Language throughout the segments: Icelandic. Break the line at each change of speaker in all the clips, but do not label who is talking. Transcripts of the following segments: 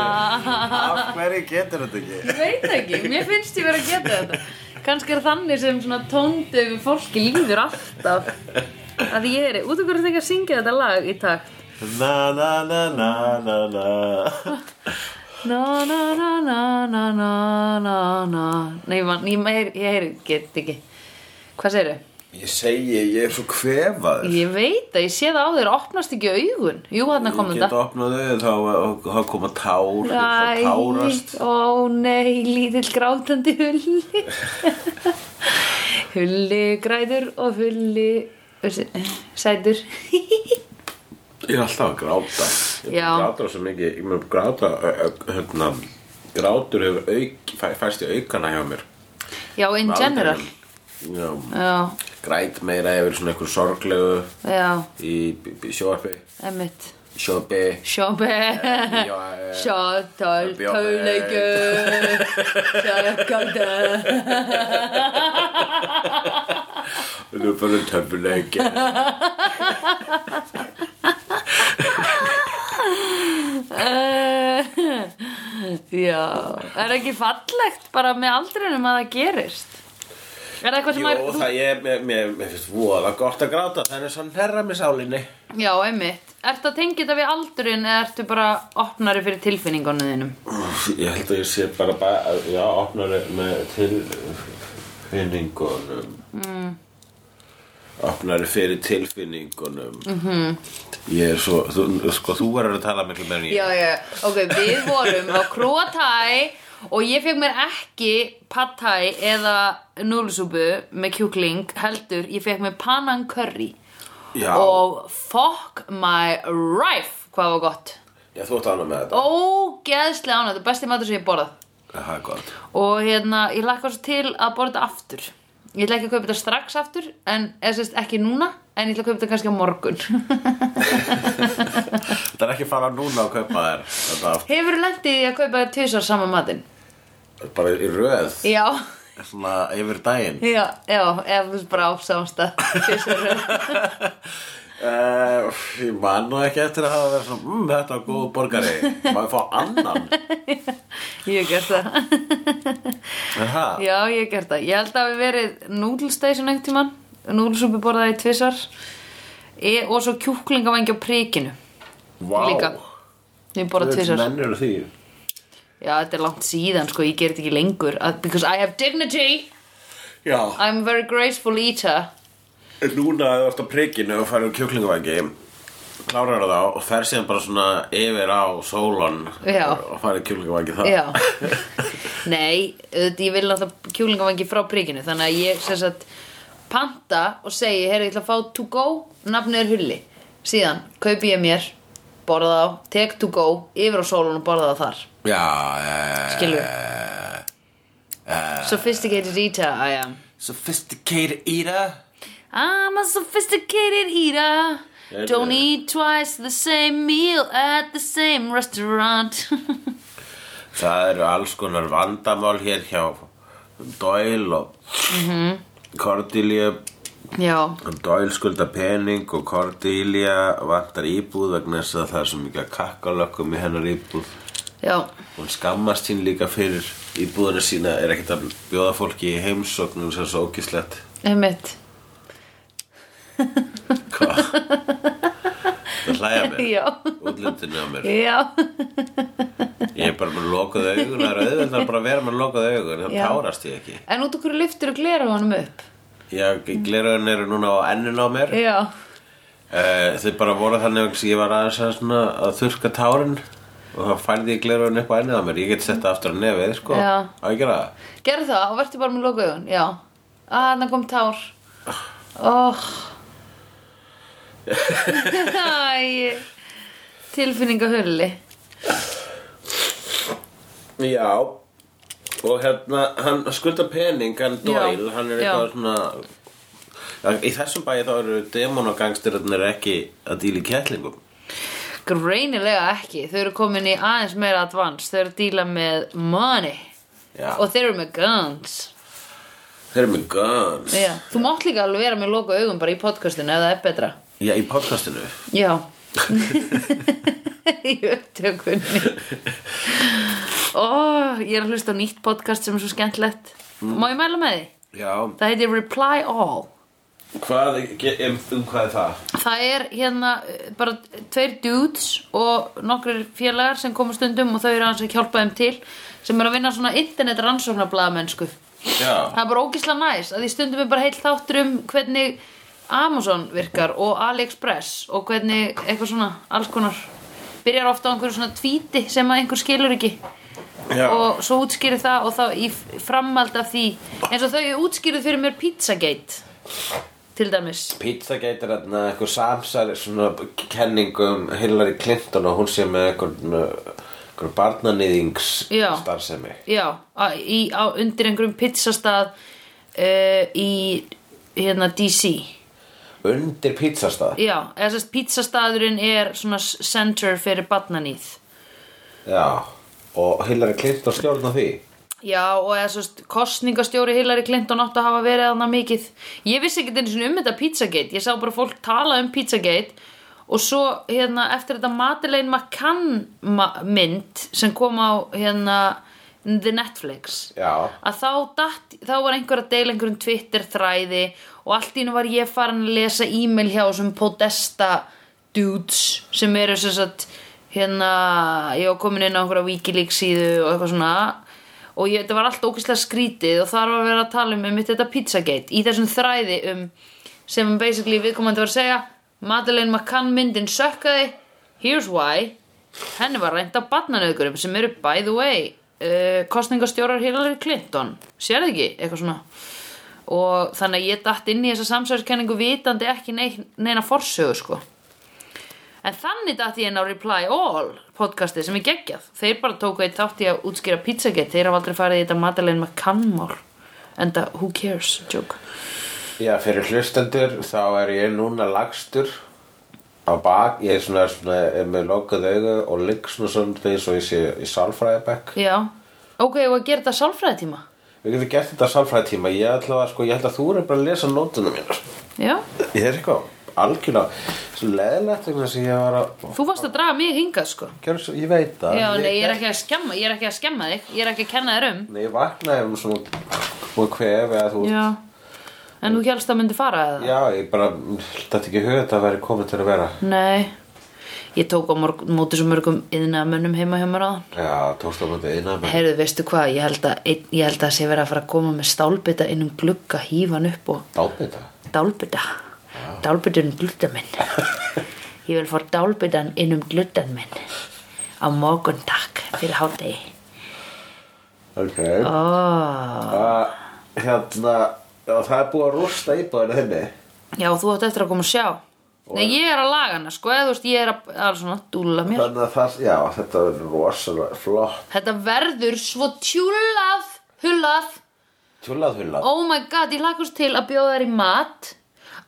Af hverju getur þetta ekki?
Ég veit ekki, mér finnst ég verið að geta þetta Kannski er þannig sem svona tóndöfu fólki líður alltaf að ég er, út af hverju þetta ekki að syngja þetta lag í takt
Na na na na na na
Na na na na na na na na Nei, man, ég, meir, ég er, get ekki Hvað segirðu?
Ég segi, ég er svo kvefaður
Ég veit að ég sé það á þér, opnast ekki augun Jú, hann kom
Ég get
þetta
opnað auðvitað þá, og- þá koma tár, þá tárast
ó nei, lítill grátandi hulli Hulli græður og hulli sætur
Ég er alltaf að gráta Ég
Já.
gráta svo mikið Ég mér gráta ö- ö- hérna, Grátur hefur auk, fæ, fæst í aukana hjá mér
Já, in general
Já,
Já,
Græt meira yfir svona einhver sorglegu
já,
Í b- b- sjóarpi
emmitt
Sjópi
Sjóbe
Eh, já, já.
Sjótól
Bjóbe.
Tólegu Sjókóta
Nú fyrir töfuleik
Eh, Já Er ekki fallegt bara með aldrinum að það gerist Er það eitthvað sem
Jú,
maður þú-
það ég, mér, mér, mér finnst voða gott að gráta Það er svo nærra með sálinni
Já, emmitt Ertu að tengja þetta við aldurinn eða ertu bara opnari fyrir tilfinningunum þínum?
Úff, Ég held að ég sé bara, bara Já, opnar með tilfinningunum mm. Opnar fyrir tilfinningunum mm -hmm.
Mhm.
Ég er svo þú, Sko, þú verður að tala miklu meir en ég
Já, já, ok, við vorum á Króatæ og ég fekk mér ekki pad thai eða núlusúbu með kjúkling heldur, ég fekk mér panan curry
Já,
og fuck my rife hvað var gott
já þú ert ánum með þetta
ógeðslega ánægt, þetta er besti matur sem ég hef borðað
Það er gott
og hérna, ég lakka svo til að borða þetta aftur ég ætla ekki að kaupa þetta strax aftur en eða sérst ekki núna en ég ætla að kaupa þetta kannski á morgun
Þetta er ekki að fara núna að kaupa þér Þetta
hefur lendið í að kaupa þetta tvisar saman matinn
er bara í röð
já
Svona yfir daginn
Já, já, ef þú veist bara á samstað
Uh, ég man nú ekki eftir að hafa verið svona mmm, þetta er góð borgari, maður fá annan
Ég hef gert það
en það,
Já, ég hef gert það Ég held að hafi verið núdlstation einhvern tímann Núdlsúpi borðaði tvissar e, Og svo kjúklingavængi á prikinu
vá
líka. Ég borðaði tvissar
mennur því
Já, þetta er langt síðan, sko, ég ger þetta ekki lengur að- Because I have dignity
já,
I'm a very graceful eater
en núna ef þú ert á prikinu og færðu kjúklingavæki klárar það og fer síðan bara svona yfir á sólan
Já.
og færðu kjúklingavæki það
Já Nei, auðvitað, ég vil alltaf kjúlingavangi frá prikinu Þannig að ég sem sagt panta og segi Herra, ég ætla að fá to go, nafnið er hulli Síðan kaupi ég mér, borða þá, tek to go Yfir á sólun og borða þá þar
já eh,
Skilur.
eh,
Sophisticated eater I am
sophisticated eater
I'm a sophisticated eater
Er-
Don't eat twice the same meal at the same restaurant
Það eru alls konar vandamál hér hjá Doyle og
Mhm.
Cordelia
Já,
Doyle skulda pening og Cordelia vantar íbúð vegna þess að það er svo mikið að kakkalökkum í hennar íbúð
já,
hún skammast sín líka fyrir íbúðuna sína er ekkert að bjóða fólki í heimsóknum sem er svo ógislegt
einmitt
hvað? það hlæja mér
Já,
útlendinu á mér
já
ég er bara með lokað augun það er auðvitað bara að vera með lokað augun það
Já.
tárast ég ekki
En út okkur lyftir og glera honum upp
Já, gleraðin eru núna á ennun á mér
Já,
uh, Þau bara voru þannig vegna sem ég var aðeins að, svona, að þurrka tárin og þá færði ég gleraðin upp á ennun á mér Ég get sett það aftur á nefið, sko
Já.
Á að gera það
gerðu það og verður bara með loka augun Já, að hann kom tár Oh Æ Tilfinningahulli
Já Og hérna, hann skulda pening, hann dóil,
Já.
hann er
Já.
eitthvað svona Já, Í þessum bæði þá eru demonogangstirarnir ekki að dýla í kettlingum
Greinilega ekki, þau eru komin í aðeins meira advance Þau eru að díla með money
Já,
Og þeir eru með guns
þeir eru með guns
Já, þú mátt líka alveg vera með loka augun bara í podcastinu ef það er betra
Já, í podcastinu
Já í upptökunni Ó, ég er að hlusta á nýtt podcast sem er svo skemmtilegt Má ég mæla með því?
Já,
Það heitir Reply All
hvað, um, um hvað er það?
Það er hérna eh, bara tveir dudes og nokkrir félagar sem koma stundum og þau eru aðeins að hjálpa þeim til sem eru að vinna svona internet rannsóknarblaðamennsku.
Já,
Það er bara ógislega næs að því stundum er bara heilt þáttur um hvernig Amazon virkar og AliExpress og hvernig eitthvað svona alls konar byrjar ofta á einhverju svona tvíti sem að einhver skilur ekki
já,
og svo útskýrir það og þá í framhald af því eins og þau útskýrið fyrir mér Pizzagate til dæmis.
pizza gætir þarna eitthvað samsari svona kenningum Hillary Clinton og hún sé með eitthvað, eitthvað barnanýðings
Já.
starfsemi
Já, á- í, á, undir einhverjum pizzastað uh, í hérna DC
undir pizzastað
Já, eða sérst pizzastaðurinn er svona s- center fyrir badnanýð
Já, og Hillary Clinton stjórna því
Já, og eða sérst kostningastjóri Hillary Clinton átt að hafa verið þarna mikið Ég vissi ekki einu sinni um þetta Pizzagate Ég sá bara fólk tala um Pizzagate og svo hérna eftir þetta Madeleine McCann ma- mynd sem kom á hérna The Netflix
Já,
að þá, datt, þá var einhver að deila einhverjum Twitter þræði og allt í nú var ég farin að lesa e-mail hjá þessum podesta dudes sem eru sem sagt hérna, ég var komin inn á einhverja Wikileaks síðu og eitthvað svona og ég, þetta var allt ógeðslega skrítið og þar var að vera að tala um um þetta Pizzagate í þessum þræði um sem basically viðkomandi var að segja Madeleine McCann myndin sökkaði here's why henni var reynd á barnanauðgurum sem eru by the way uh, kostningastjórar Hillary Clinton sérðu ekki, eitthvað svona og þannig að ég datt inn í þessa samsæðiskenningu vitandi ekki nei- neina forsögu sko En þannig datt ég inn á Reply All podcastið sem er geggjað. Þeir bara tóku eitt þátt í að útskýra pizzagett. Þeir hafa aldrei farið í þetta Madeleine McCannmál. Enda, who cares, joke.
Já, fyrir hlustendur þá er ég núna lagstur á bak, ég er svona, svona er með lokuð augu og ligg svona svona eins og ég sé í sálfræðibekk
Já, ok, og að gera þetta sálfræðitíma
Við getum gert þetta sálfræðitíma, ég ætla að sko, ég ætla að þú eru bara að lesa nótunum mínar
Já,
Ég er eitthvað algjörlega svo leðilegt vegna þess að ég var að
þú varst að draga mig hingað sko
gera svo, ég veit það
Já, nei, ég er ekki að skemma, ég er ekki að skemma þig Ég er ekki að kenna þér um
Nei, ég vaknaði um svona og kvef eða þú
Já, en þú hélst að myndi fara eða?
Já, ég bara, þetta ekki hugað að það væri komið til að vera
Nei, ég tók á morg, móti svo mörgum yðnaðmönnum heima hjá mér áðan
Já, tókst á myndi innan með
Heyrðu, veistu hvað, ég held að, einn- ég held að sé verið að fara að koma með stálbita inn um glugga, hífa hann upp og
Dábita
dálbita dálbitan gluttan minn ég vil fá dálbitan inn um gluttan minn á morgun takk fyrir hádegi
Ok
Ah. oh.
að hérna já, það er búið að rústa íbúðinu þinni
já þú átt eftir að koma og sjá Nei, ég er að laga hana sko eða þú veist ég er að, að svona dúlla mér
þannig að það, já, þetta er rosalega flott
þetta verður svo tjúlað hullað
tjúlað hullað
oh my god, ég lakast til að bjóða þær í mat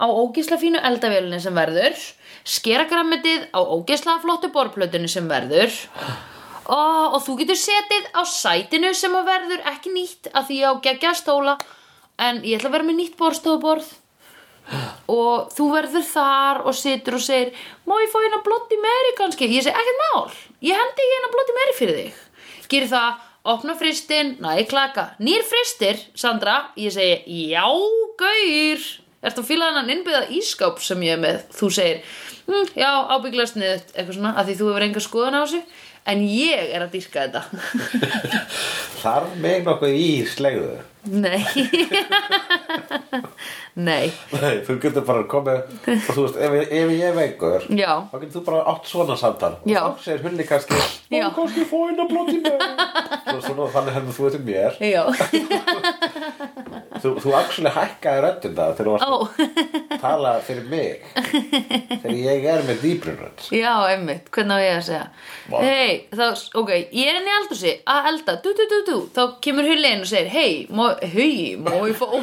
á ógeðsla fínu eldavélinni sem verður skera græmitið á ógeðsla flottu borplötunni sem verður oh, og þú getur setið á sætinu sem að verður ekki nýtt af því ég á geggja stóla en ég ætla að vera með nýtt borstofuborð og þú verður þar og situr og segir má ég fá hérna blotti meiri kannski ég segi ekkert mál, ég hendi hérna blotti meiri fyrir þig gerir það, opna fristin næði klaka, nýr fristir Sandra, ég segi já gaur, ertu að fíla hennan innbyggða ískáp sem ég er með, þú segir hm, já, ábygglega sniðut eitthvað svona, af því þú hefur enga skoðan á þessu en ég er að dýrka þetta
þarf mig nokkuð í slegðu
nei nei,
Nei, þú getur bara komið og þú veist, ef, ég- ef ég er veikur
já
þá getur þú bara átt svona samtal
Já.
og þá segir hulli kannski
Já.
og kannski fá eina blótt í mig Þú veist, svona, þannig henni þú veitum mér
já,
þú, þú actually hækkaði röddum það þegar þú varst
ó
að tala fyrir mig þegar ég er með dýbrun rödd
Já, einmitt, hvernig á ég að segja
Vá.
Hei, þá, ok, ég er inn í eldhúsi að elda, du, du, du, du þá kemur hulli inn og segir, hei, má- hei, má ég fá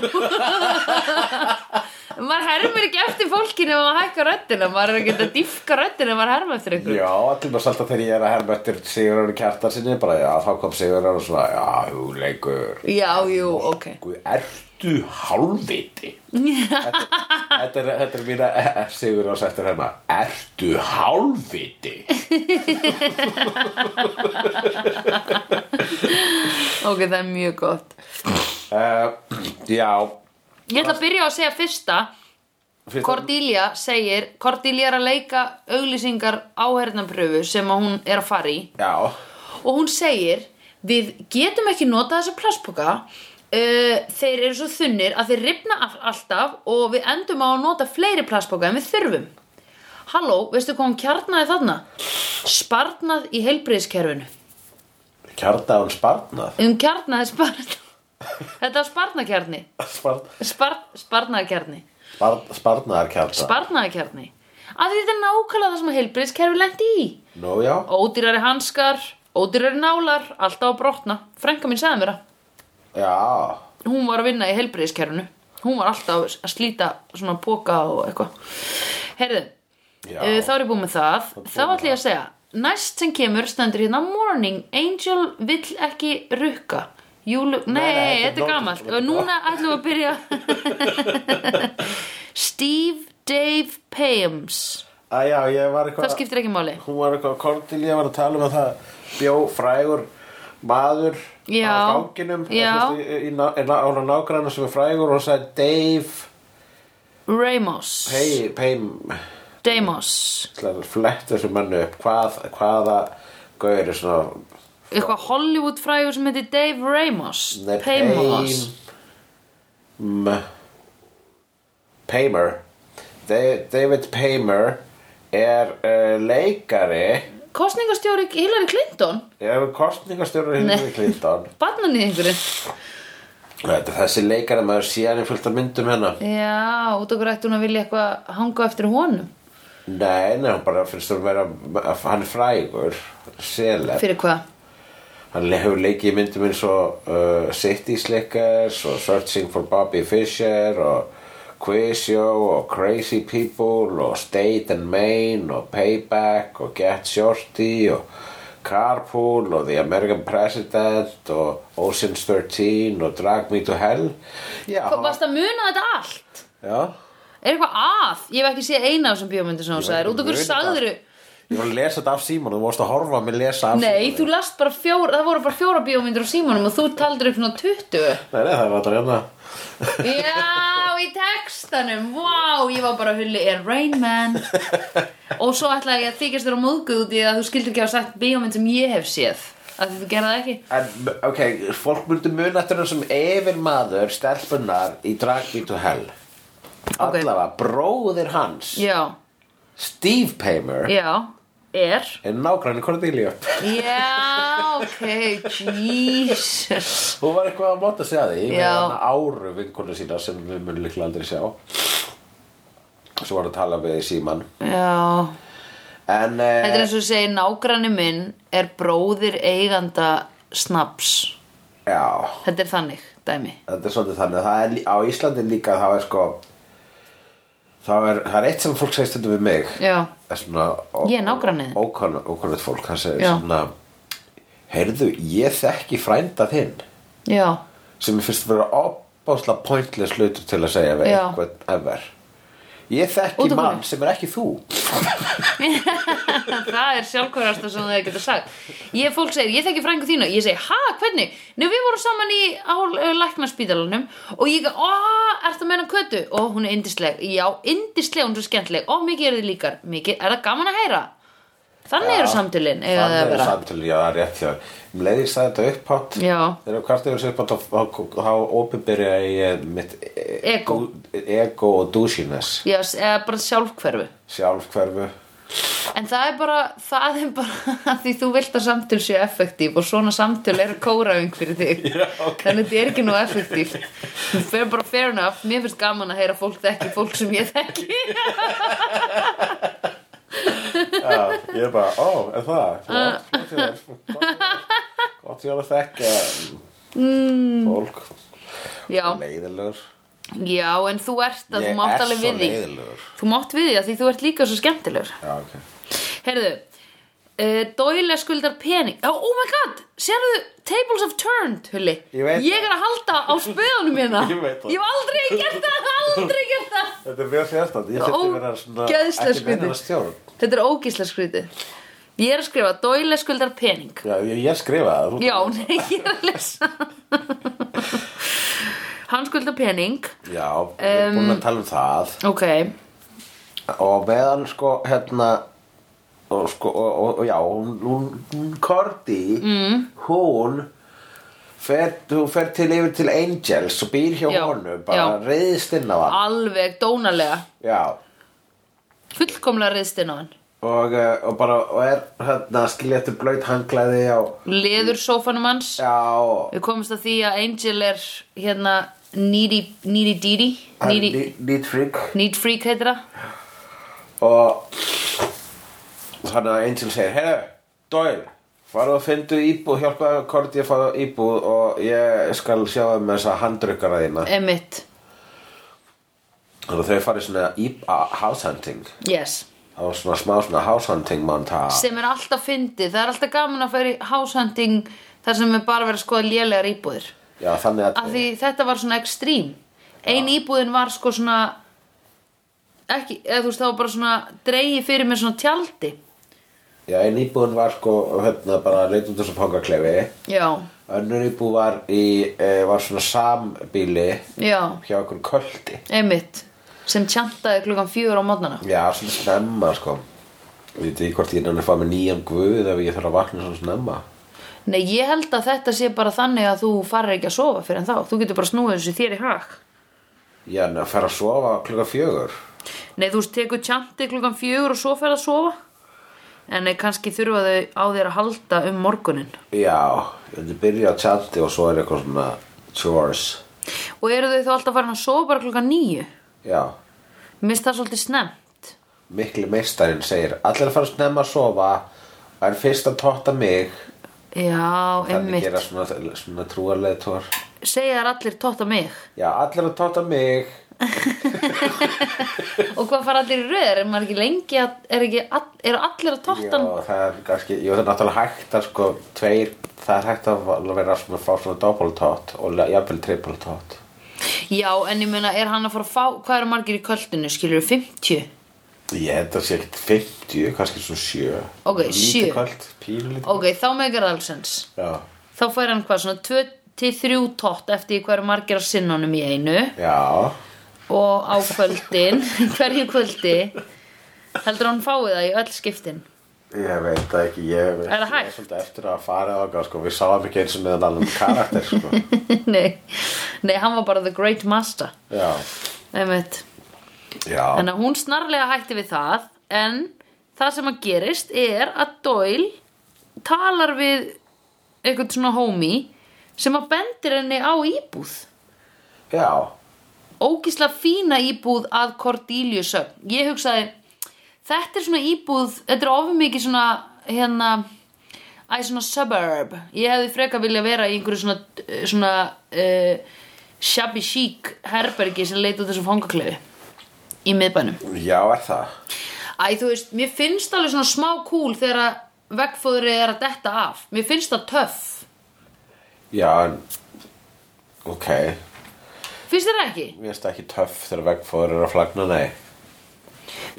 maður hermir ekki eftir fólkinu ef maður hækkar röddina, maður er ekki að dýfka röddina ef maður hermir eftir einhverju
Já, allir maður salta þegar ég er að herma eftir Sigurður Kjartar sinni, bara já, þá kom Sigurður og svona, já, jú, leikur
Já, jú, ok
Guð, ertu
Ertu hálfviti?
Þetta er, þetta er mína sigur á sættur hérna
Ertu hálfviti?
ok, það er mjög gott
uh, Já
ég ætla að byrja á að segja fyrsta
fyrst-
Cordelia segir Cordelia er að leika auglýsingar áherðnampröfu sem að hún er að fara í
Já,
og hún segir við getum ekki nota þessa plastpoka uh, þeir eru svo þunnir að þeir ripna af- alltaf og við endum á að nota fleiri plastpoka en við þurfum Halló, veistu hvað hún kjarnaði þarna? Sparnað í heilbriðskerfinu
kjarnaðan sparnað
Um kjarnaði sparnað Þetta var sparnakjarni
Sparn,
Spar, Sparnaðakjarni
sparn, Sparnaðar kjarnað
Sparnaðakjarni Að þetta er nákvæmlega það sem heilbriðskerfi lendi í
Nú já,
Ódýrari hanskar, ódýrari nálar Alltaf að brotna Frænka mín sagði mér það
já
hún var að vinna í helbriðiskerfinu hún var alltaf að slíta svona póka og eitthvað heyrðu,
Já.
eh, þá er ég búin með það þá ætlum ég að segja næst sem kemur stendur hérna morning angel vill ekki rukka Júlu, nei,
nei, þetta er
þetta er
nóg-
gamalt og núna ætlum við að byrja Steve Dave Payams
Að já, ég var eitthvað
það skiptir ekki máli
Hún var eitthvað kortil, ég var að tala um að það bjó frægur maður
Já.
á ganginum
Já.
eða, þú veist, í, í, ná- í, ná- á nágrann sem er frægur og hann sagði Dave
Ramos
Pay, Pay
Deimos
flett þessu mannu upp hvað, hvaða gauður er svona
eitthvað Hollywood frægur sem heitir Dave Ramos
Nei,
Paymas
Paym- uh, Paymer Da- David Paymer er uh, leikari
kostningastjóri Hillary Clinton
er kostningastjóra Hillary
Nei.
Clinton
barnanýðingurinn
Þetta, þessi leikari maður síðan er fullt af myndum hérna. hennar
já, út okkur ætti hún að vilja eitthvað hanga eftir honum
Nei, nei, hann bara finnst þú að vera að hann er frægur selef,
fyrir hvað?
hann le- hefur leikið í myndum eins og uh, City Slickers og Searching for Bobby Fischer og Quiz Show og Crazy People og State and Main og Payback og Get Shorty og Carpool og The American President og Ocean's 13 og Drag Me to Hell Já,
Hva, varst að muna þetta allt?
já
er eitthvað að? ég hef ekki séð eina af þessum bíómyndir sem hún
Ég var
sagðir
ekki
út okkur
muna
sagðiru
Ég var að lesa þetta af síman og þú vorst að horfa að mér lesa af
nei,
símanum.
þú last bara fjóra það voru bara fjóra bíómyndir á símanum og þú taldur upp svona 20
Nei, nei, það var þetta hérna
já, í textanum vá, ég var bara hulli er Rain Man og svo ætlaði ég að þykjast þér á móðguð út í að þú skildur ekki að sagt bíómynd sem ég hef séð að þú gerði það ekki
En, ok, fólk myndi muna eftir þessum yfir maður stelpunar í Drag Me to Hell
Ok.
Allavega, bróðir hans
já,
Steve Paymer
Já, er
er nágræni Cordelia
Já, ok, Jesus
Hún var eitthvað að móta sig að því með
Já.
hana áru vinkonu sína sem við munum líklega aldrei sjá Svo var að tala við síman
Já,
En,
þetta er
eh,
eins og segir nágranni minn er bróðir eiganda snaps
já
Þetta er þannig, dæmi
þetta er svolítið þannig að það er lí- á Íslandi líka þá er sko þá er, það er eitt sem fólk segist þetta við mig
Já,
Það er svona
Ég er nágrannið.
ókvæmlega fólk, það segir
Já.
svona heyrðu, ég þekki frænda þinn
já,
sem ég finnst vera opásla pointless hlutur til að segja við
Já.
einhvern ever ég
Út af
þekki mann
hverju?
sem er ekki þú
það er sjálfkvörasta sem það getur sagt Ég, fólk segir, ég þekki frængu þína Ég segi, ha, hvernig? Nei, við vorum saman í á uh, læknarspítalanum og ég, ó, ertu að meina kötu? Ó, hún er yndisleg, já, yndisleg, hún er svo skemmtleg Ó, mikið eru þið líkar, mikið, er það gaman að heyra? Þannig eru samtölin, eiga það að
þannig er
vera
samtölin, já, það er rétt hjá um leið ég sagði þetta upphátt
Já.
þegar hvart yfir þessu upphátt þá- þá- þá opinbyrja ég mitt
Ego.
ego og douchiness
Já, s- eða bara sjálfkverfu
sjálfhverfu
En það er bara, það er bara að því þú vilt að samtöl séu effektív og svona samtöl eru kóraðing fyrir þig Já, okay. Þannig að þetta er ekki nú effektív Fair, bara fair enough, mér finnst gaman að heyra fólk þekki fólk sem ég þekki
Já, ég er bara, ó, er það?
Ah.
Flott, flott hjá þér, flott hjá þér. Gott ég er að þekka mm. fólk
Já,
Leiðilegur
já, en þú ert að þú
Ég
mátt
er
alveg
svo
við því
leiðilegur
Þú mátt við því að því þú ert líka svo skemmtilegur
Já, ok
Heyrðu, uh, Doyle skuldar pening oh, oh my god, sérðu Tables have turned, Hulli
Ég veit
Ég er að halda á spöðunum hérna
Ég veit það.
Ég hef aldrei gert það, aldrei gert það
Þetta er mjög fjöldan, ég þurfti að vera svona
Ógeðslega
ekki með
skrítið.
hennar stjórn
Þetta er ógísla skrítið Ég er að skrifa Doyle skuldar pening
Já, ég, ég skrifa það þú-
Já, nei, ég er að lesa Hann skuldar pening
Já, við erum búin að tala um það
Ok,
Og meðan sko, hérna Og sko, og, og, og já, hún, hún- hún Korti, mm. hún fer, Hún fer til yfir til Angels Og býr hjá
Já,
honum Bara
já. Ah.
reyðist inn á hann
alveg dónalega
Já,
Fullkomlega reyðstinn á hann
og, eh, og bara Og er hérna skiljættur blöyt hanglaði á
Leður sófanum hans
Já,
Við komumst að því að Angel er hérna Needy, needy Didi
hann er
Needy,
ný- nýtt frík
Need Freak heitir það
og þannig að Angel segir herru, Doyle, farðu að fyndu íbúð hjálpaðu Korti að fá íbúð og ég skal sjá um þessa handrukkara þína
Emmett,
og þau farið svona íb- a- house hunting
yes
það var svona smá svona house hunting montage
sem er alltaf fyndið, það er alltaf gaman að fara í háshunding þar sem er bara verið að skoða lélegar íbúðir
já þannig
af
að
því þetta var svona ekstrím ein íbúðin var sko svona ekki, eða þú veist það var bara svona dreigi fyrir mér svona tjaldi
já, einn íbúðin var sko hérna bara leit út þessu fangaklefi
já,
önnur íbúð var í e, var svona sambíli
já,
hjá okkur köldi
Emmett sem tjantaði klukkan fjör á mótnana
já svona snemma sko ég veit ekki hvort ég er að fá með nýjan guð ef ég þarf að vakna svona snemma
nei, ég held að þetta sé bara þannig að þú farir ekki að sofa fyrir en þá þú getur bara snúið þessu þér í hag
Já, en að fara að sofa klukka fjögur
nei, þú veist, tekur tjantið klukkan fjör og svo fer að sofa en nei, kannski þurfa þau á þér að halda um morgunin
Já, þetta byrja á tjaldi og svo er eitthvað svona chores
og eru þau þá alltaf farin að sofa bara klukkan nýju
Já,
mist það svolítið snemmt
mikli meistarinn segir Allir að fara snemma að sofa og er fyrst að totta mig
Já,
Þannig
einmitt
gera svona, svona trúarlega tór
Segja þær allir tótt á mig
Já, allir að totta mig
Og hvað fara allir í röður? Er maður ekki lengi að Er, ekki, all, er allir að
Já,
tóttan
það er kannski, jú það er náttúrulega hægt að sko tveir, það er hægt að vera svona fá svona doppeltott og le- jafnvel trippeltott
Já, en ég meina, er hann að fara að fá Hvað eru margir í kvöldinu? Skilur 50?
Ég held að sé ekkert 50, kannski svona 7
Ok, sjö.
Lítið kvöld, pínlítið
Ok, þá megar allsens
Já,
Þá fær hann hvað, svona 2 til 3 tótt Eftir því hvað eru margir að sinna honum í einu
já
Og á kvöldin Hverju kvöldi Heldur hann fáið það í öll skiptin
Ég veit það ekki, ég veit
Er það hægt?
Ég svolítið eftir að fara þáka, sko, við sáum ekki eins og með annan karakter, sko
Nei, nei, hann var bara the great master
Já,
Einmitt
já,
Þannig að hún snarlega hætti við það en það sem að gerist er að Doyle talar við einhvern svona homie sem að bendir henni á íbúð
já
ógislega fína íbúð að Cordelia sögn ég hugsaði, þetta er svona íbúð þetta er ofur mikið svona hérna, æ svona suburb ég hefði freka vilja vera í einhverju svona svona uh, shabby chic herbergi sem leit út þessu fangaklefi í miðbænum
Já, er það
Æ, þú veist, mér finnst alveg svona smá kúl þegar að vegfóðrið er að detta af. Mér finnst það töff.
Já, en, ok Mér
Finnst þér ekki?
finnst það ekki töff þegar vegfóður er að flagna, nei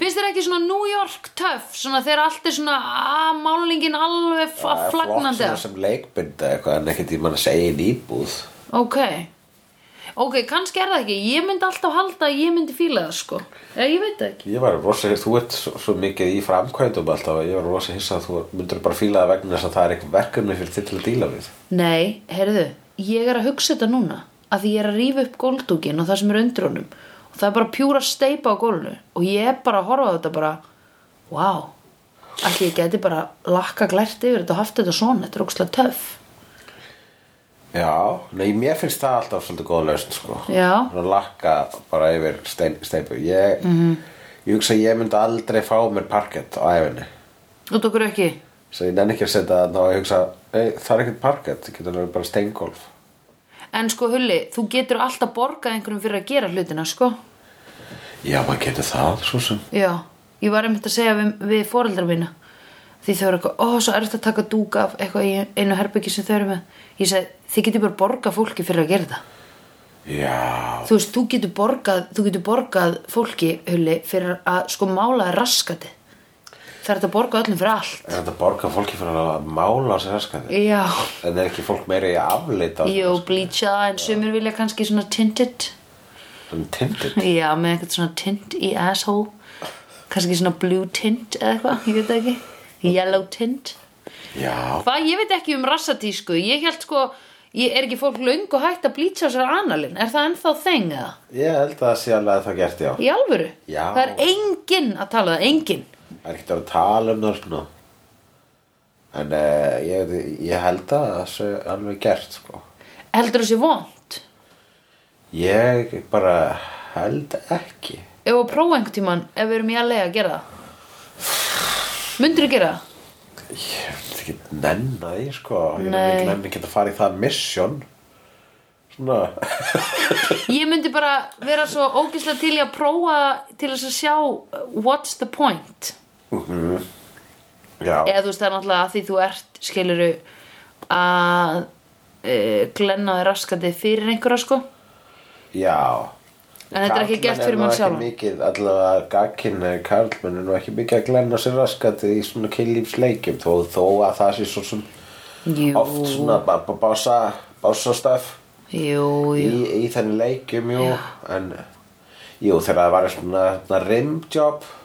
Finnst þér ekki svona New York töff? Svona þegar allt er svona að málingin alveg fa-
Það er flott
flagnandi
svona
af?
sem leikbynda eitthvað en ekkert í mann að segja í nýbúð
Ok. Ok, kannski er það ekki. Ég myndi alltaf halda að ég myndi fíla það, sko. Eða ég veit það ekki.
Ég var rosa, þú ert svo, svo mikið í framkvæmdum alltaf Ég var rosa hissa að þú myndir bara fíla það vegna þess að það er eitthvað verkefni fyrir þitt til að díla við
Nei, heyrðu, ég er að hugsa þetta núna að því ég er að rífa upp góldúkin og það sem er undir honum og það er bara pjúra steipa á gólnu og ég er bara að horfa á þetta bara wow, allir ég geti bara lakka glært yfir þetta og haft þetta svona þetta er ókslega töff
Já, nei, mér finnst það alltaf svolítið góð lausn, sko.
Já.
Svona lakka bara yfir stein, steipu. Ég,
Mhm.
-hmm. ég hugsa að ég myndi aldrei fá mér parkett á æfinni.
Út okkur ekki
Svo ég nenni ekki að setja það og ég hugsa, ei, það er ekkert parkett, það getur verið bara steingolf.
En sko Hulli, þú getur alltaf borgað einhverjum fyrir að gera hlutina, sko
Já, maður getur það, svo sem.
Já, ég var einmitt að segja við, við foreldra mína því þau eru eitthvað, ó, svo erfitt að taka dúk af eitthvað í einu herbyggi sem þau eru með ég segi, þið getur bara borgað fólki fyrir að gera þetta
já,
þú veist, þú getur borgað, þú getur borgað fólki, hulli, fyrir að sko mála raskati það er hægt að borga öllum fyrir allt
er þetta borga fólki fyrir að mála á sér raskandi
já,
en er ekki fólk meiri í aflita
jú, blítsja en sumir vilja kannski svona tinted
um tindir
Já, með eitthvað svona tint í asshole kannski svona blue tint eða eitthvað, ég veit það ekki Yellow tint
já,
Hvað, ég veit ekki um rassatísku Ég held sko, ég er ekki fólk löngu hægt að blýtsa sér analinn Er það ennþá þeng eða?
ég held að það sé alveg að það gert já
Í alvöru?
Já.
Það er enginn að tala það, enginn
það er ekkert að tala um það svona en uh, ég, ég held að það sé alveg gert sko
Heldur þessi vond?
ég bara held ekki
Ef að prófa einhvern tímann, ef við erum í að að gera það Mundirðu gera það?
Ég vil ekki nenna því sko Ég vil
Nei.
ekki nenni geta að fara í það mission Svona
Ég myndi bara vera svo ógislega til í að prófa til þess að sjá uh, what's the point
Já,
eða þú veist það er náttúrulega að því þú ert skiluru að e, glenna þér raskandi fyrir einhverja sko
já
En þetta er ekki gert fyrir mann sjálfan.
sjálf Allavega gagkinni karlmenn er nú ekki mikið að glenna sér raskati í svona kynlífsleikjum þó, þó að það sé svo sem
Jú,
oft sko. svona ba- ba- bása, bása stöf
jú,
í,
jú
í þenni leikjum jú, en jú þegar það var svona, svona rimjob þá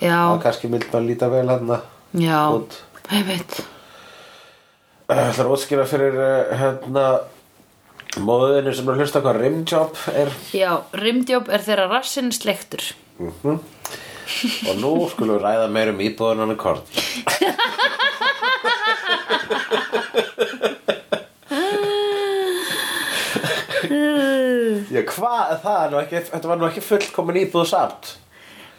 Já,
kannski vilt maður líta vel hérna. hann
já,
út
einmitt
Það er útskýra fyrir uh, hérna móðinu sem er að hlusta hvað rimjob er
Já, rimdjóp er þeirra rassinn slektur
og nú skulum við ræða meir um íbúðunan og kort Já, hvað það er nú ekki, þetta var nú ekki fullkomin íbúð samt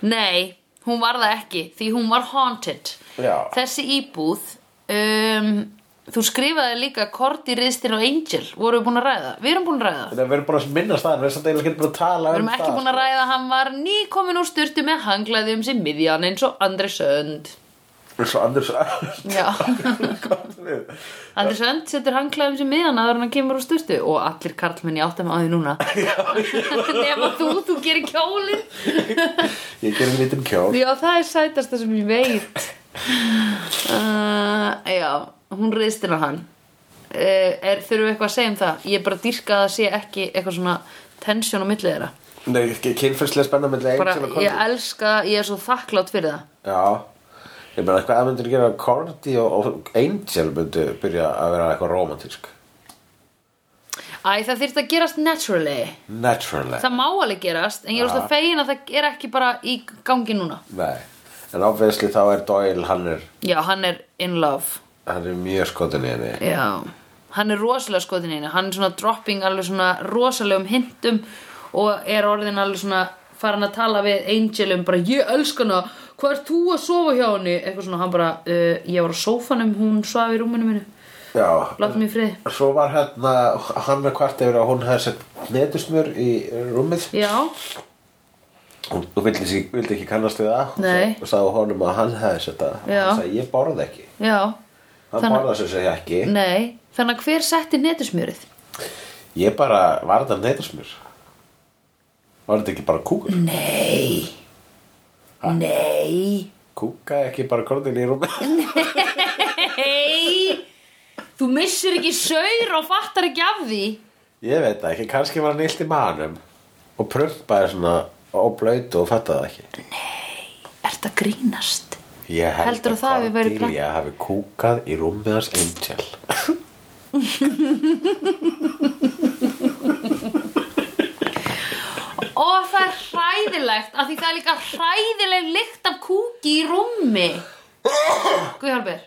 Nei, hún var það ekki því hún var haunted
Já.
Þessi íbúð um, Þú skrifaði líka Korti, Riðstinn og Angel voru við búin að ræða Við erum búin að ræða
Þannig að við erum bara að minnast það, en við erum samt eiginlega ekki búin að tala
Við
um
erum
það
ekki búin að
sko.
ræða að hann var nýkomin úr styrtu með hanglaði um sig miðjan eins og Andri Sönd.
Eins og Anders
Já,
kom við.
Andri Sönd setur hanglaði um sig miðjan aður hann kemur úr styrtu og allir karlmenni áttum á því núna. Nefna þú, þú gerir kjólinn.
Ég gerum lítinn kjól
Já, það er sætasta sem ég veit. Uh, já, hún reyðstinn á hann. Uh, er, þurfum við eitthvað að segja um það? Ég bara dýrka að það sé ekki eitthvað svona tensjón á milli þeirra.
Nei, ekki kynfyrslega spenna með
Bara,
Angel og Condi
ég elska, ég er svo þakklátt fyrir það.
Já, ég meina hvað myndir gera að Cordy og, og Angel myndu byrja að vera eitthvað romantísk
Æ, það þyrfti að gerast naturally
Naturally
Það má alveg gerast En ég er úrst að fegin að það er ekki bara í gangi núna
Nei, en obviously þá er Doyle, hann er,
Já, hann er in love
hann er mjög skotin í henni
Já Hann er rosalega skotin í henni Hann er svona dropping alveg svona rosalegum hintum Og er orðin alveg svona farin að tala við Angel um bara Ég elska hana, hvað ert þú að sofa hjá henni? Eitthvað svona, hann bara uh, Ég var á sófanum, hún svaf í rúminu minu
Já,
Láttu mig í frið
svo var hérna, hann er hvart yfir að hún hefði sett netusmjör í rúmið
Já,
Hún hún vildi, sig- vildi ekki kannast við það Hún
Nei.
sa- og sagði honum að hann hefði sett það
Já.
Hann sagði, ég borða ekki
já,
Hann
Þannig-
borða sér segja ekki
nei Þannig að hver setti netusmjörið?
Ég bara, var þetta netusmjör? Var þetta ekki bara kúkur?
Nei Nei
Kúka ekki bara kortin í rúmi
Nei Þú missir ekki saur og fattar ekki af því
Ég veit það ekki, kannski var hann illt í manum Og prumpaði svona Og blöytu og fattaði það ekki
Ert að grínast
Ég held
Heldurðu það hafi verið plan-
Ég hafi kúkað í rúmið hans Angel
Og það er hræðilegt af því það er líka hræðileg lykt af kúki í rúmi Guðhjálpir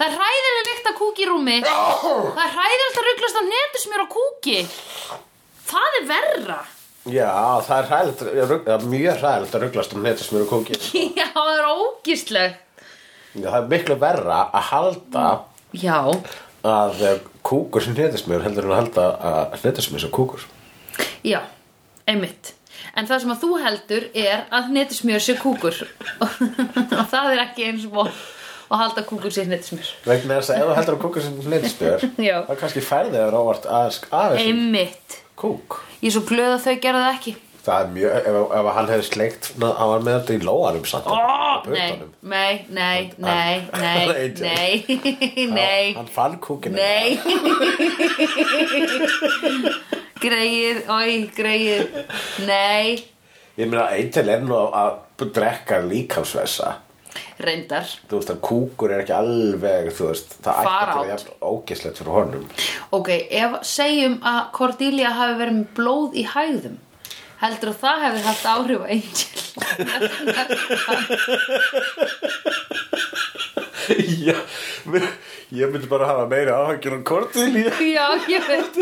Það er hræðileg lykt af kúki í rúmi Það er hræðilegt að rugglast á netusmjör og kúki Það er verra
Já, það er hræðilegt ég rugg- Það er mjög hræðilegt að rugglast um netasmjör og kúki
Já, það er ógíslegt
Já, Það er miklu verra að halda
Já,
Að eh, kúkur sem netasmjör Heldur en að halda að netasmjör sem kúkur
Já, einmitt En það sem að þú heldur er að netismjör sé kúkur og það er ekki eins og að halda kúkur sé netismjör
vegna þess að ef þú heldur að kúka sem hlindspjör
Já.
þá kannski færði þér óvart aðeins aðeins
Einmitt
kúk
Ég er svo glöð að þau gerðu það ekki
það er mjög, ef, ef hann hefði sleikt ná- hann var með þetta í lóanum samt oh,
Nei, nei, nei, nei, nei,
Nei,
nei, nei
hann fann kúkinu
Nei Greið, oi, greið Nei,
ég meina Angel er nú að, að drekka líkamsvessa
reyndar
þú veist að kúkur er ekki alveg þú veist, það ætti
Far
ekki að vera
out.
jafn ógislegt fyrir honum
Ok, ef segjum að Cordelia hafi verið með blóð í hægðum heldur að það hefði haft áhrif á Angel
já, mér- ég myndi bara hafa meira áhengjur um kortil ég
Já, ég veit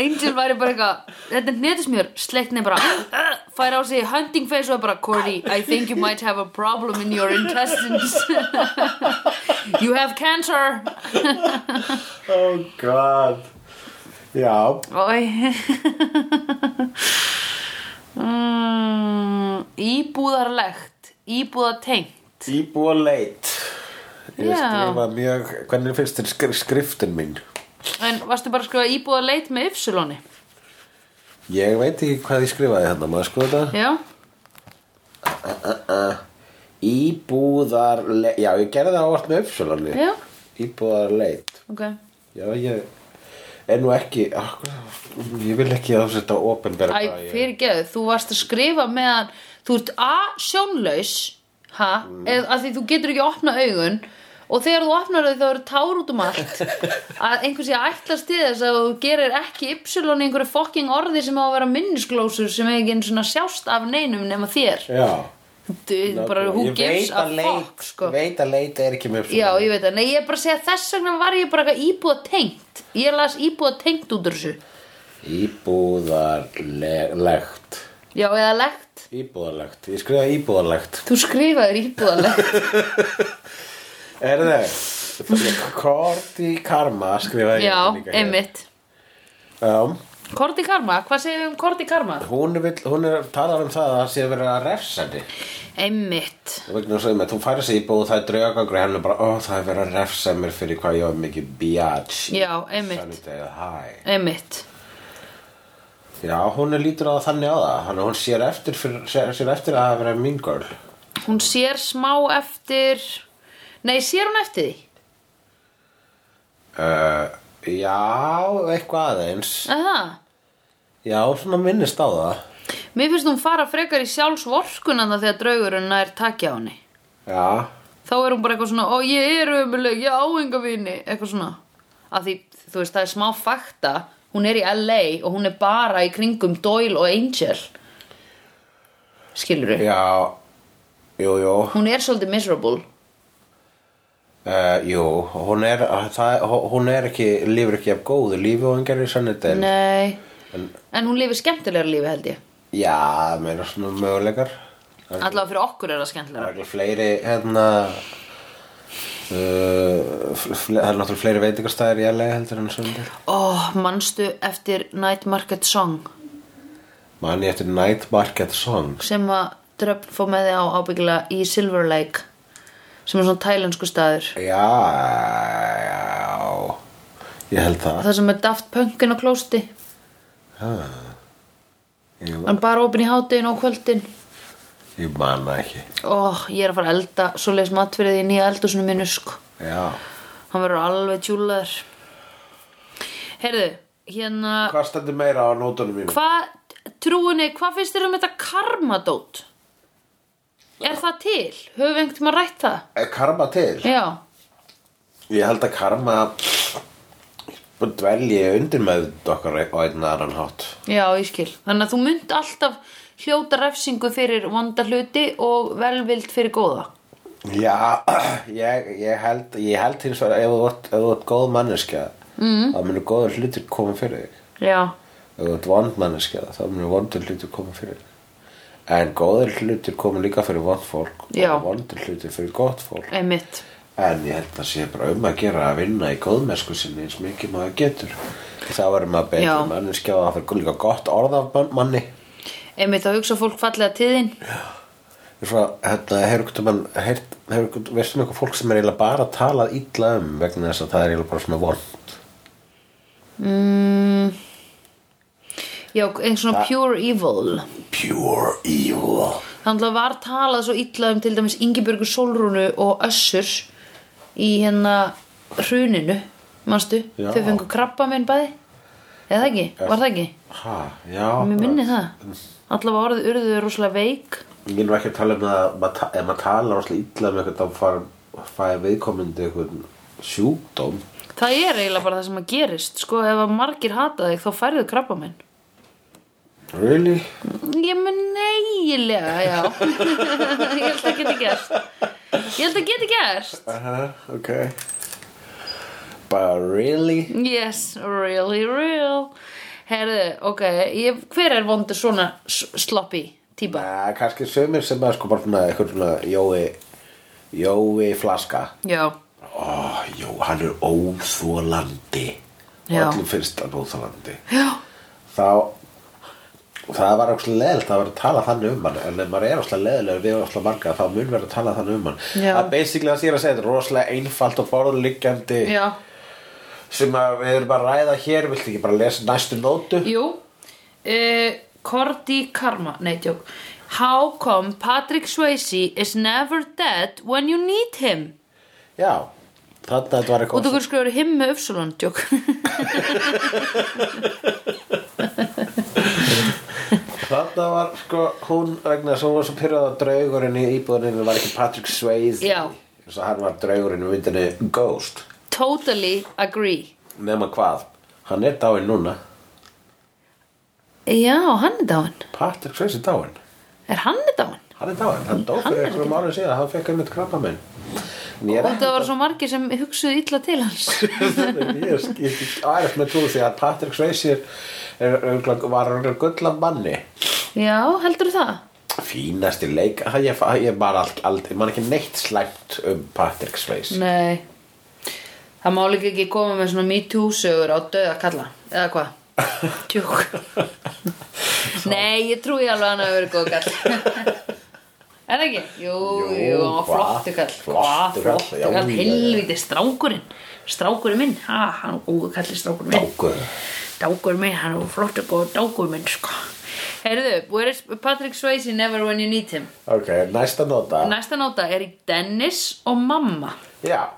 Angel væri bara eitthvað Þetta er netismjör, sleikni bara fær á sig hunting face og er bara Cordy, I think you might have a problem in your intestines You have cancer
oh god já,
Ói mm, Íbúðarlegt Íbúðatengt
íbúa leit ég
Já.
skrifa mjög hvernig finnst þér skri, skriftin mín
En varstu bara að skrifa íbúðarleit með yfsulóni?
ég veit ekki hvað ég skrifaði hérna maður sko þetta
Já
Íbúðar Já, ég gerði það ávart með uppsölunni
Já.
Íbúðar
Ok
Já, ég er nú ekki akkur, Ég vil ekki að þetta opinbera
Æ,
hvað ég-
fyrirgeðu, þú varst að skrifa meðan Þú ert A, sjónlaus Ha,
Mm.
eða að því þú getur ekki að opna augun Og þegar þú opnar þau þá eru tár út um allt Að einhver sé að ætlast til þess að þú gerir ekki ypsilon í einhverju fokking orði sem á að vera minnisglósur sem er ekki einu svona sjást af neinum nema þér
Já
Duð, bara
nákvæmlega.
who
Ég
gives
veit
a
að
fuck sko.
Ég veit að leit er ekki með uppsölunni
Já, ég veit það, nei ég er bara að segja þess vegna var ég bara eitthvað íbúða tengt Ég las íbúða tengt út úr þessu
Íbúðar legt
Já, eða legt
Íbúðarlegt, ég skrifaði íbúðarlegt
Þú skrifaðir íbúða legt
Er það? Korti Karma skrifaði ég
Já,
líka hér.
einmitt
Já,
Korti Karma, hvað segir við um Korti Karma?
hún, vill, hún er talar um það að það sé að vera refsandi
Einmitt
vegna þess að einmitt, hún færi sig í búð það er draugagangur og henni er bara, ó það er verið að refsa mér fyrir hvað ég var mikið bjats
Já, einmitt. Einmitt
Já, hún er lítur á það þannig á það hann, hún sér eftir, fyrir, sér, sér eftir að hafa verið mean girl
Hún sér smá eftir Nei, sér hún eftir því?
uh, Já, eitthvað aðeins
Aha.
Já, svona minnist á það
Mér finnst hún fara frekar í sjálfsvorkunanda þegar draugurinn er takja á henni
Já,
þá er hún bara eitthvað svona, ó ég er ömuleg, ég á enga vini, eitthvað svona af því, þú veist, það er smá fakta hún er í LA og hún er bara í kringum Doyle og Angel skilur við
já Jú, jú,
hún er svolítið miserable
uh, jú, hún er, það, hún er ekki, lífur ekki af góðu lífi og hann gerir sannindin
nei, en, hún lifi skemmtilegra lífi held ég
Já, meira svona möguleikar
allavega fyrir okkur er það
Það
skemmtilegra
er ekki fleiri hérna uh, fle- fle- það er náttúrulega fleiri veitingastæðir í LA heldur en sundir
ó, manstu eftir Night Market Song
Man ég eftir Night Market Songs
sem að Dröfn fór með þið á ábyggilega í Silver Lake sem er svona tælensku staður
Já, já Ég held það
það sem er Daft Punkin á klósti
Ég,
hann bara opin í hádegin og á kvöldin
ég man það ekki
Ó, ég er að fara að elda svo leis matfyrir í nýja eldúsinu mínu sko.
Já
Hann verður alveg tjúlaður. Heyrðu, hérna,
Hvað stendur meira á nótunum mínu?
hvað, trúinni, hvað finnst þér um þetta karmadót? Er það til? Höfum við einhvern tíma rætt það?
Er Eh, karma til?
Já,
Ég held að karma dvelji undir með okkar á einn aðran hátt
já, ég skil. Þannig að þú mynd alltaf hljóta refsingu fyrir vonda hluti og velvild fyrir góða.
Já, ég, ég, held, ég held hins vegar ef þú ert, ef þú ert góð manneskja mm. þá munir góður hlutir koma fyrir þig
Já,
ef þú ert vond manneskja þá munir vondur hlutir koma fyrir þig en góður hlutir koma líka fyrir vond fólk
Já.
og vondur hlutir fyrir gott fólk
einmitt.
en ég held að sé bara um að gera að vinna í góðmennsku sinni eins mikið maður getur þá verður maður betri
Já.
manneskja og það fyrir líka gott orð af mann- manni
einmitt að hugsa fólk fallega til þín
Ég er svona, hérna, hefur ykkur mann heyrt, hefur ykkur, veistu um eitthvað fólk sem er eiginlega bara talað illa um vegna þess að það er eiginlega bara svona vond
já, eins svona pure evil
Pure evil
þannig að var talað svo illa um til dæmis Ingibjörgu Sólrúnu og Össur í hérna hruninu, manstu
Já.
þau fengu krabba minn bæði eða ekki, var það ekki?
Ha, já
Mér minni það allavega orðið urðu þau rosalega veik
Ég er nú ekki að tala um það að maður ta- ef maður tala rosalega illa um eitthvað þá far- fær viðkomandi eitthvað sjúkdóm
það er eiginlega bara það sem að gerist sko, ef að margir hata þig þá færðu krabba minn
Really?
ég mun eiginlega, já ég held að geti gerst ég held að geti gerst
Uh -huh, ok But really?
Yes, really real Herðu, ok, ég, hver er vondur svona s- sloppy típa?
Næ, kannski sömur sem er sko bara svona eitthvað svona Jói Jói Flaska
Já,
Ó, Jó, Ah, hann er óþólandi
Já.
Og öllum finnst hann óþólandi
já,
Þá Það var ókslega leðilt að vera að tala þannig um hann en ef maður er ókslega leðilegur við ókslega marga þá mun vera að tala þannig um hann
Já.
að basically það sé að segja þetta er rosalega einfalt og borðliggjandi
já,
sem að við erum bara að ræða hér viltu ekki bara lesa næstu nótu
jú uh, Korti Karma, nei, tjók How come Patrick Swayze is never dead when you need him?
Já, þannig að þetta var
Út
eitthvað
okkur skrifur him með uppsulun, tjók
Þarna var sko hún vegna þess að hún var svo pyrrað að draugurinn í íbúðinni var ekki Patrick Swayze
Já.
Svo hann var draugurinn í myndinni Ghost
Totally agree
Nefna hvað, hann er dáinn núna
Já, hann er dáin
Patrick Swayze er dáinn
Er hann er dáin?
Hann er dáinn, hann dó fyrir einhverjum árum síðan Hann fekk einmitt krabba minn En ég er
Þetta var svo margir sem hugsuðu illa til hans
ekki Ég er sk- ég er ekki ærið með trú því að Patrick Swayze er, er, örugglega- var örugglega gull af manni
Já, heldur það?
Fínasti leik Hann- Ég, ég var aldrei, aldrei, mann ekki neitt slæmt um Patrick Swayze
Nei Það má líka ekki koma með svona me too sögur á döða kalla Eða hvað? Tjúk Nei, ég trúi alveg að hann hafi verið góð kall Er það ekki? Jú,
Jú,
jú, hann var
hvað?
flottu kall Hvað,
Flottur kall,
flottu
já,
kall,
já, já.
helviti strákurinn Strákurinn minn, ha, hann er góð kalli strákurinn minn
Dákur
Dákurinn minn, hann er flottu góð dákurinn minn, sko Heyrðu, where is Patrick Swayze never when you need him?
Ok, næsta nota
Næsta nota er í Dennis og mamma
Já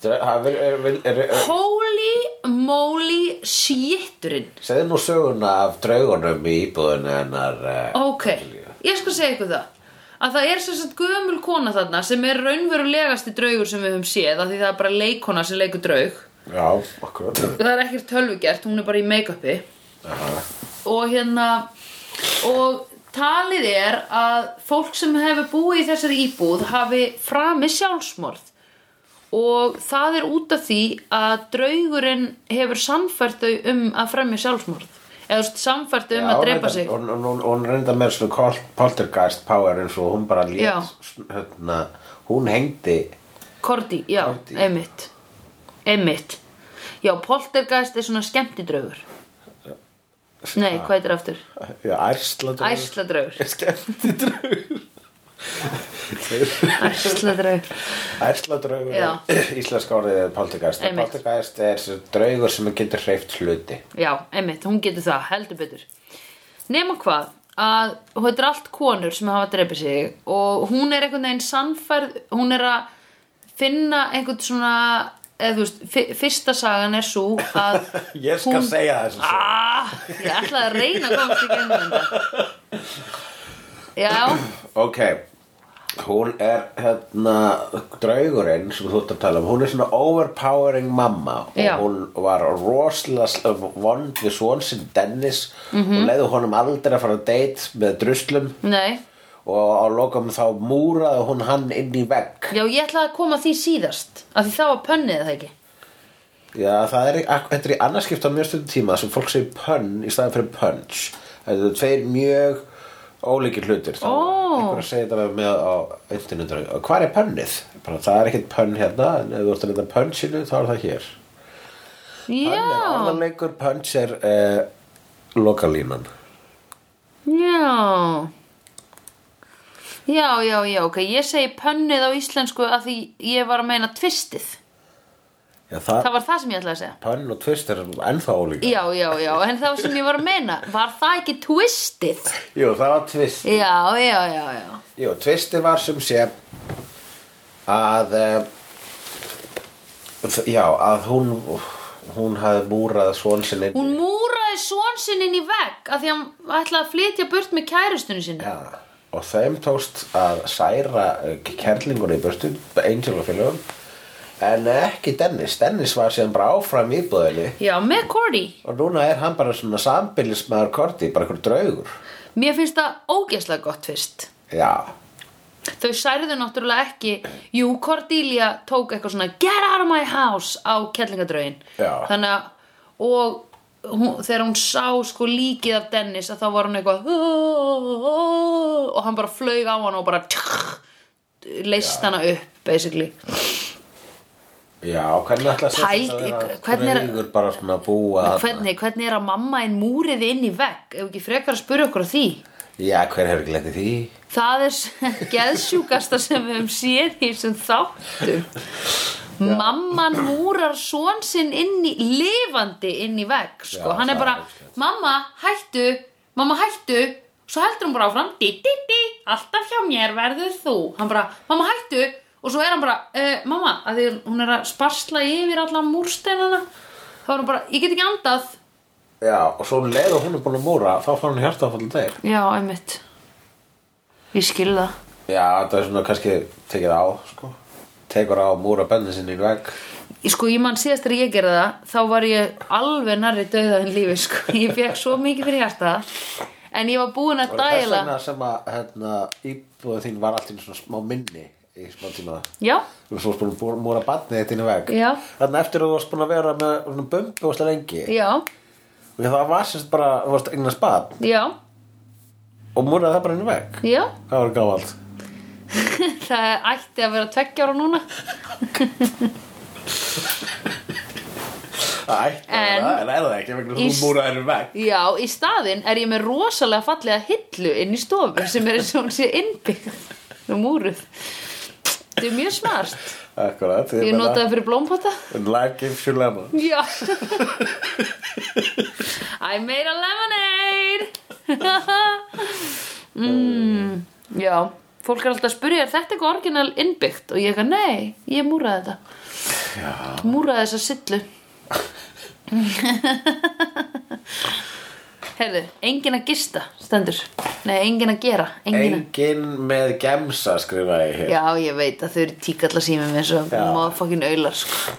Það er, er, er, er, er,
Holy moly shitturinn
Segðu nú söguna af draugunum í íbúðinu hennar uh,
Ok, ég skal segja ykkur það að það er sem sagt gömul kona þarna sem er raunverulegasti draugur sem við höfum séð af því það er bara leikona sem leikur draug
Já, okkur
það er ekkert tölvugert, hún er bara í make-upi
Aha.
og hérna og talið er að fólk sem hefur búið í þessari íbúð hafi framið sjálfsmorð og það er út af því að draugurinn hefur samfært þau um að fremja sjálfsmorð eða þú veist, samfært þau um
Já,
að
hún
drepa
reyndar-
sig
Hún, hún, hún, hún reynda með svona kol- poltergeist power eins og hún bara
Já.
lét sn- hérna, Hún hengdi
Korti, já,
Korti.
einmitt einmitt já, poltergeist er svona skemmtidraugur nei, hvað heitir aftur?
Já, ærsla draugur
Æsladraugur
Skemmti draugur
Æsladraugur
Ærsla draugur
Já.
er Íslenska orðið er poltergeist
Einmitt.
Poltergeist er sem draugur sem getur hreift hluti
Já, einmitt, hún getur það, heldur betur Nema hvað að hún er allt konur sem hafa dreipið sig og hún er einhvern veginn sannfærð hún er að finna einhvern svona eða þú veist, fi- fyrsta sagan er svo að
Ég skal
Hún-
segja þessu sögu.
ah, ég ætlaði að reyna að komast í gennum þetta Já,
Ok, hún er hérna draugurinn sem þú ert að tala um, hún er svona overpowering mamma og
Já.
hún var rosalega sl- vond við svon sinn Dennis og leiði honum aldrei að fara að date með druslum
nei
og á lokum þá múraði hún hann inn í vegg
Já, ég ætlaði að koma að því síðast af því það var pönnið það ekki
Já, það er, ak- þetta er í annarskipt á mjög stundum tíma sem fólk segir pönn í staðan fyrir punch Þetta eru tveir mjög ólíkir hlutir þá
Ó.
einhver að segja þetta með á internetur Hvar er pönnið? Bara, það er ekkert pönn hérna en ef þú ert að leita að pönnsinu þá er það hér Hann er
Já.
orðanleikur, punch er uh, lokalínan.
Já Já, já, já, ok Ég segi pönnið á íslensku að því ég var að meina tvistið
Já, það,
Það var það sem ég ætlaði að segja
pönn og twist er ennþá ólíka.
Já, já, já, en það sem ég var að meina Var það ekki twistið?
Jú, það var twist.
Já, já, já, já
Jú, tvisti var sem sé að uh, já, að hún hún hafði múrað svon sinni
Hún múraði svon sinn inn í vegg að því hann ætlaði að flytja burt með kærustunni sinni
já, og þeim tókst að særa kærlingur í burtu Angel og félögum en ekki Dennis, Dennis var síðan bara áfram í íbúðinni
Já, með Cordy
og núna er hann bara svona sambilismæður korti, bara einhver draugur
Mér finnst það ógeðslega gott fyrst
já,
Þau særðu náttúrulega ekki Jú, Cordelia tók eitthvað svona Get out of my house á kellingadraugin
Já.
Þannig að Og hún, þegar hún sá sko líkið af Dennis að þá var hún eitthvað og hann bara flaug á hann og bara leist hana upp basically
já, hvernig ætla að
Pæl-
þetta vera
hvernig er-
draugur bara svona búa þarna?
hvernig, hvernig er að mamma einn múrið inn í vegg ef ekki frekar að spyrja okkur að því
já, hver hefur gletið því
það er geðsjúkasta sem við höfum séð í þessum þáttum mamman múrar són sinn inn í lifandi inn í vegg sko.
Já,
hann er
það
bara,
er óskemmt.
mamma hættu mamma hættu svo heldur hann bara áfram di, di, di, alltaf hjá mér verður þú hann bara, mamma hættu og svo er hann bara, uh, mamma, að því hún er að sparsla yfir alla múrsteinana þá er hann bara, ég get ekki andað
já, og svo um leið og hún er búin að múra þá fær hún hjarta að falla deg
já, einmitt ég skil það
Já, það er svona kannski tekið á, sko Tekur á múra bönni sinni í vegg
Ég sko, ég man síðast þegar ég gerði það þá var ég alveg nærri dauða en lífi sko. ég fekk svo mikið fyrir hjarta en ég var búin að
Og það er
dæla
svona sem að hérna, íbúið þín var alltaf svona smá minni í smá tíma
já,
Þú varst búin að bú- múra barnið þetta inn í vegg
Já.
Þannig eftir að þú varst búin að vera með svona bumbu og slega lengi
já,
Og það var sérst bara, þú varst eignan spad
já,
Og múraði það bara inn í vegg
já
Það var gáðalt
það ætti að vera tveggja ára núna
Það ætti að
En-
vera það, en er það ekki vegna
Í
þess að
s-
þú múraði þér í vegg
já, í staðinn er ég með rosalega fallega hillu inn í stofu sem er eins og hún sé innbyggð um úruð þetta er mjög smart
Akkurat,
ég notaði fyrir blómpota
Life gives you lemon
já I made a lemonade Mm. Já, fólk er alltaf að spyrja er þetta eitthvað orginal innbyggt og ég eitthvað, nei, ég múraði þetta Já. múraði þessa sillu Heyrðu, engin að gista stendur, nei, engin að gera engin að,
Engin með gemsa skrifaði ég hér
já, ég veit að þau eru tíkalla sími með þessu
Já.
motherfucking aular, sko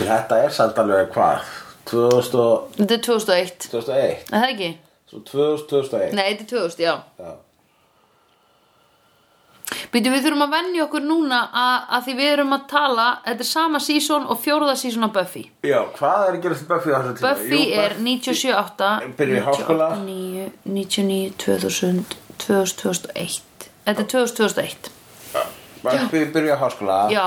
Þetta er samt alveg hvað? 2000 og-
þetta er 2001,
2001
er það ekki?
Svo 2000, 2001
nei, þetta er 2000, já
Já.
Býtum við þurfum að venja okkur núna að, að því við erum að tala, þetta er sama sísón og fjórða sísón af Buffy.
Já, hvað er að gerast í Buffy á þessu tíma?
Buffy
Jú,
er 97,
Byrjuð í háskóla.
99, 99, 2000, 2000, 2001. Þetta er 2001.
Buffy byrja á háskóla
Já,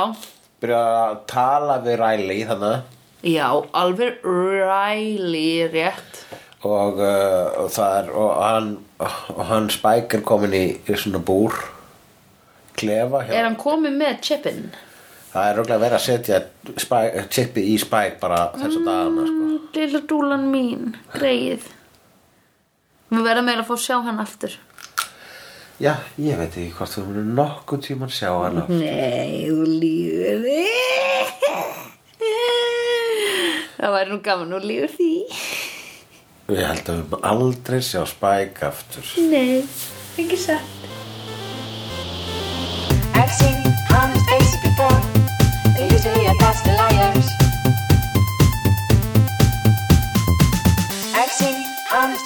Byrja að tala við Riley þannig
já, alveg ræli rétt.
og, uh, og það er og hann, og hann Spike er komin í, í svona búr klefa hjá
Er hann komið með chippin?
það er röglega verið að setja Spike, tippi í Spike bara þess
Mm.
að dagana sko.
Lilla dúlan mín, greið. Við verðum eiginlega að fá að sjá hann aftur.
Já, ég veit ekki hvort þú munir nokkuð tíman sjá hana
Mhm. Nei, þú lífur því Það væri nú gaman, þú lífur því
Ég held að við munum aldrei sjá Spike aftur
Nei, ekki satt
I've seen honest faces before. They're usually a pass to liars. I've seen honest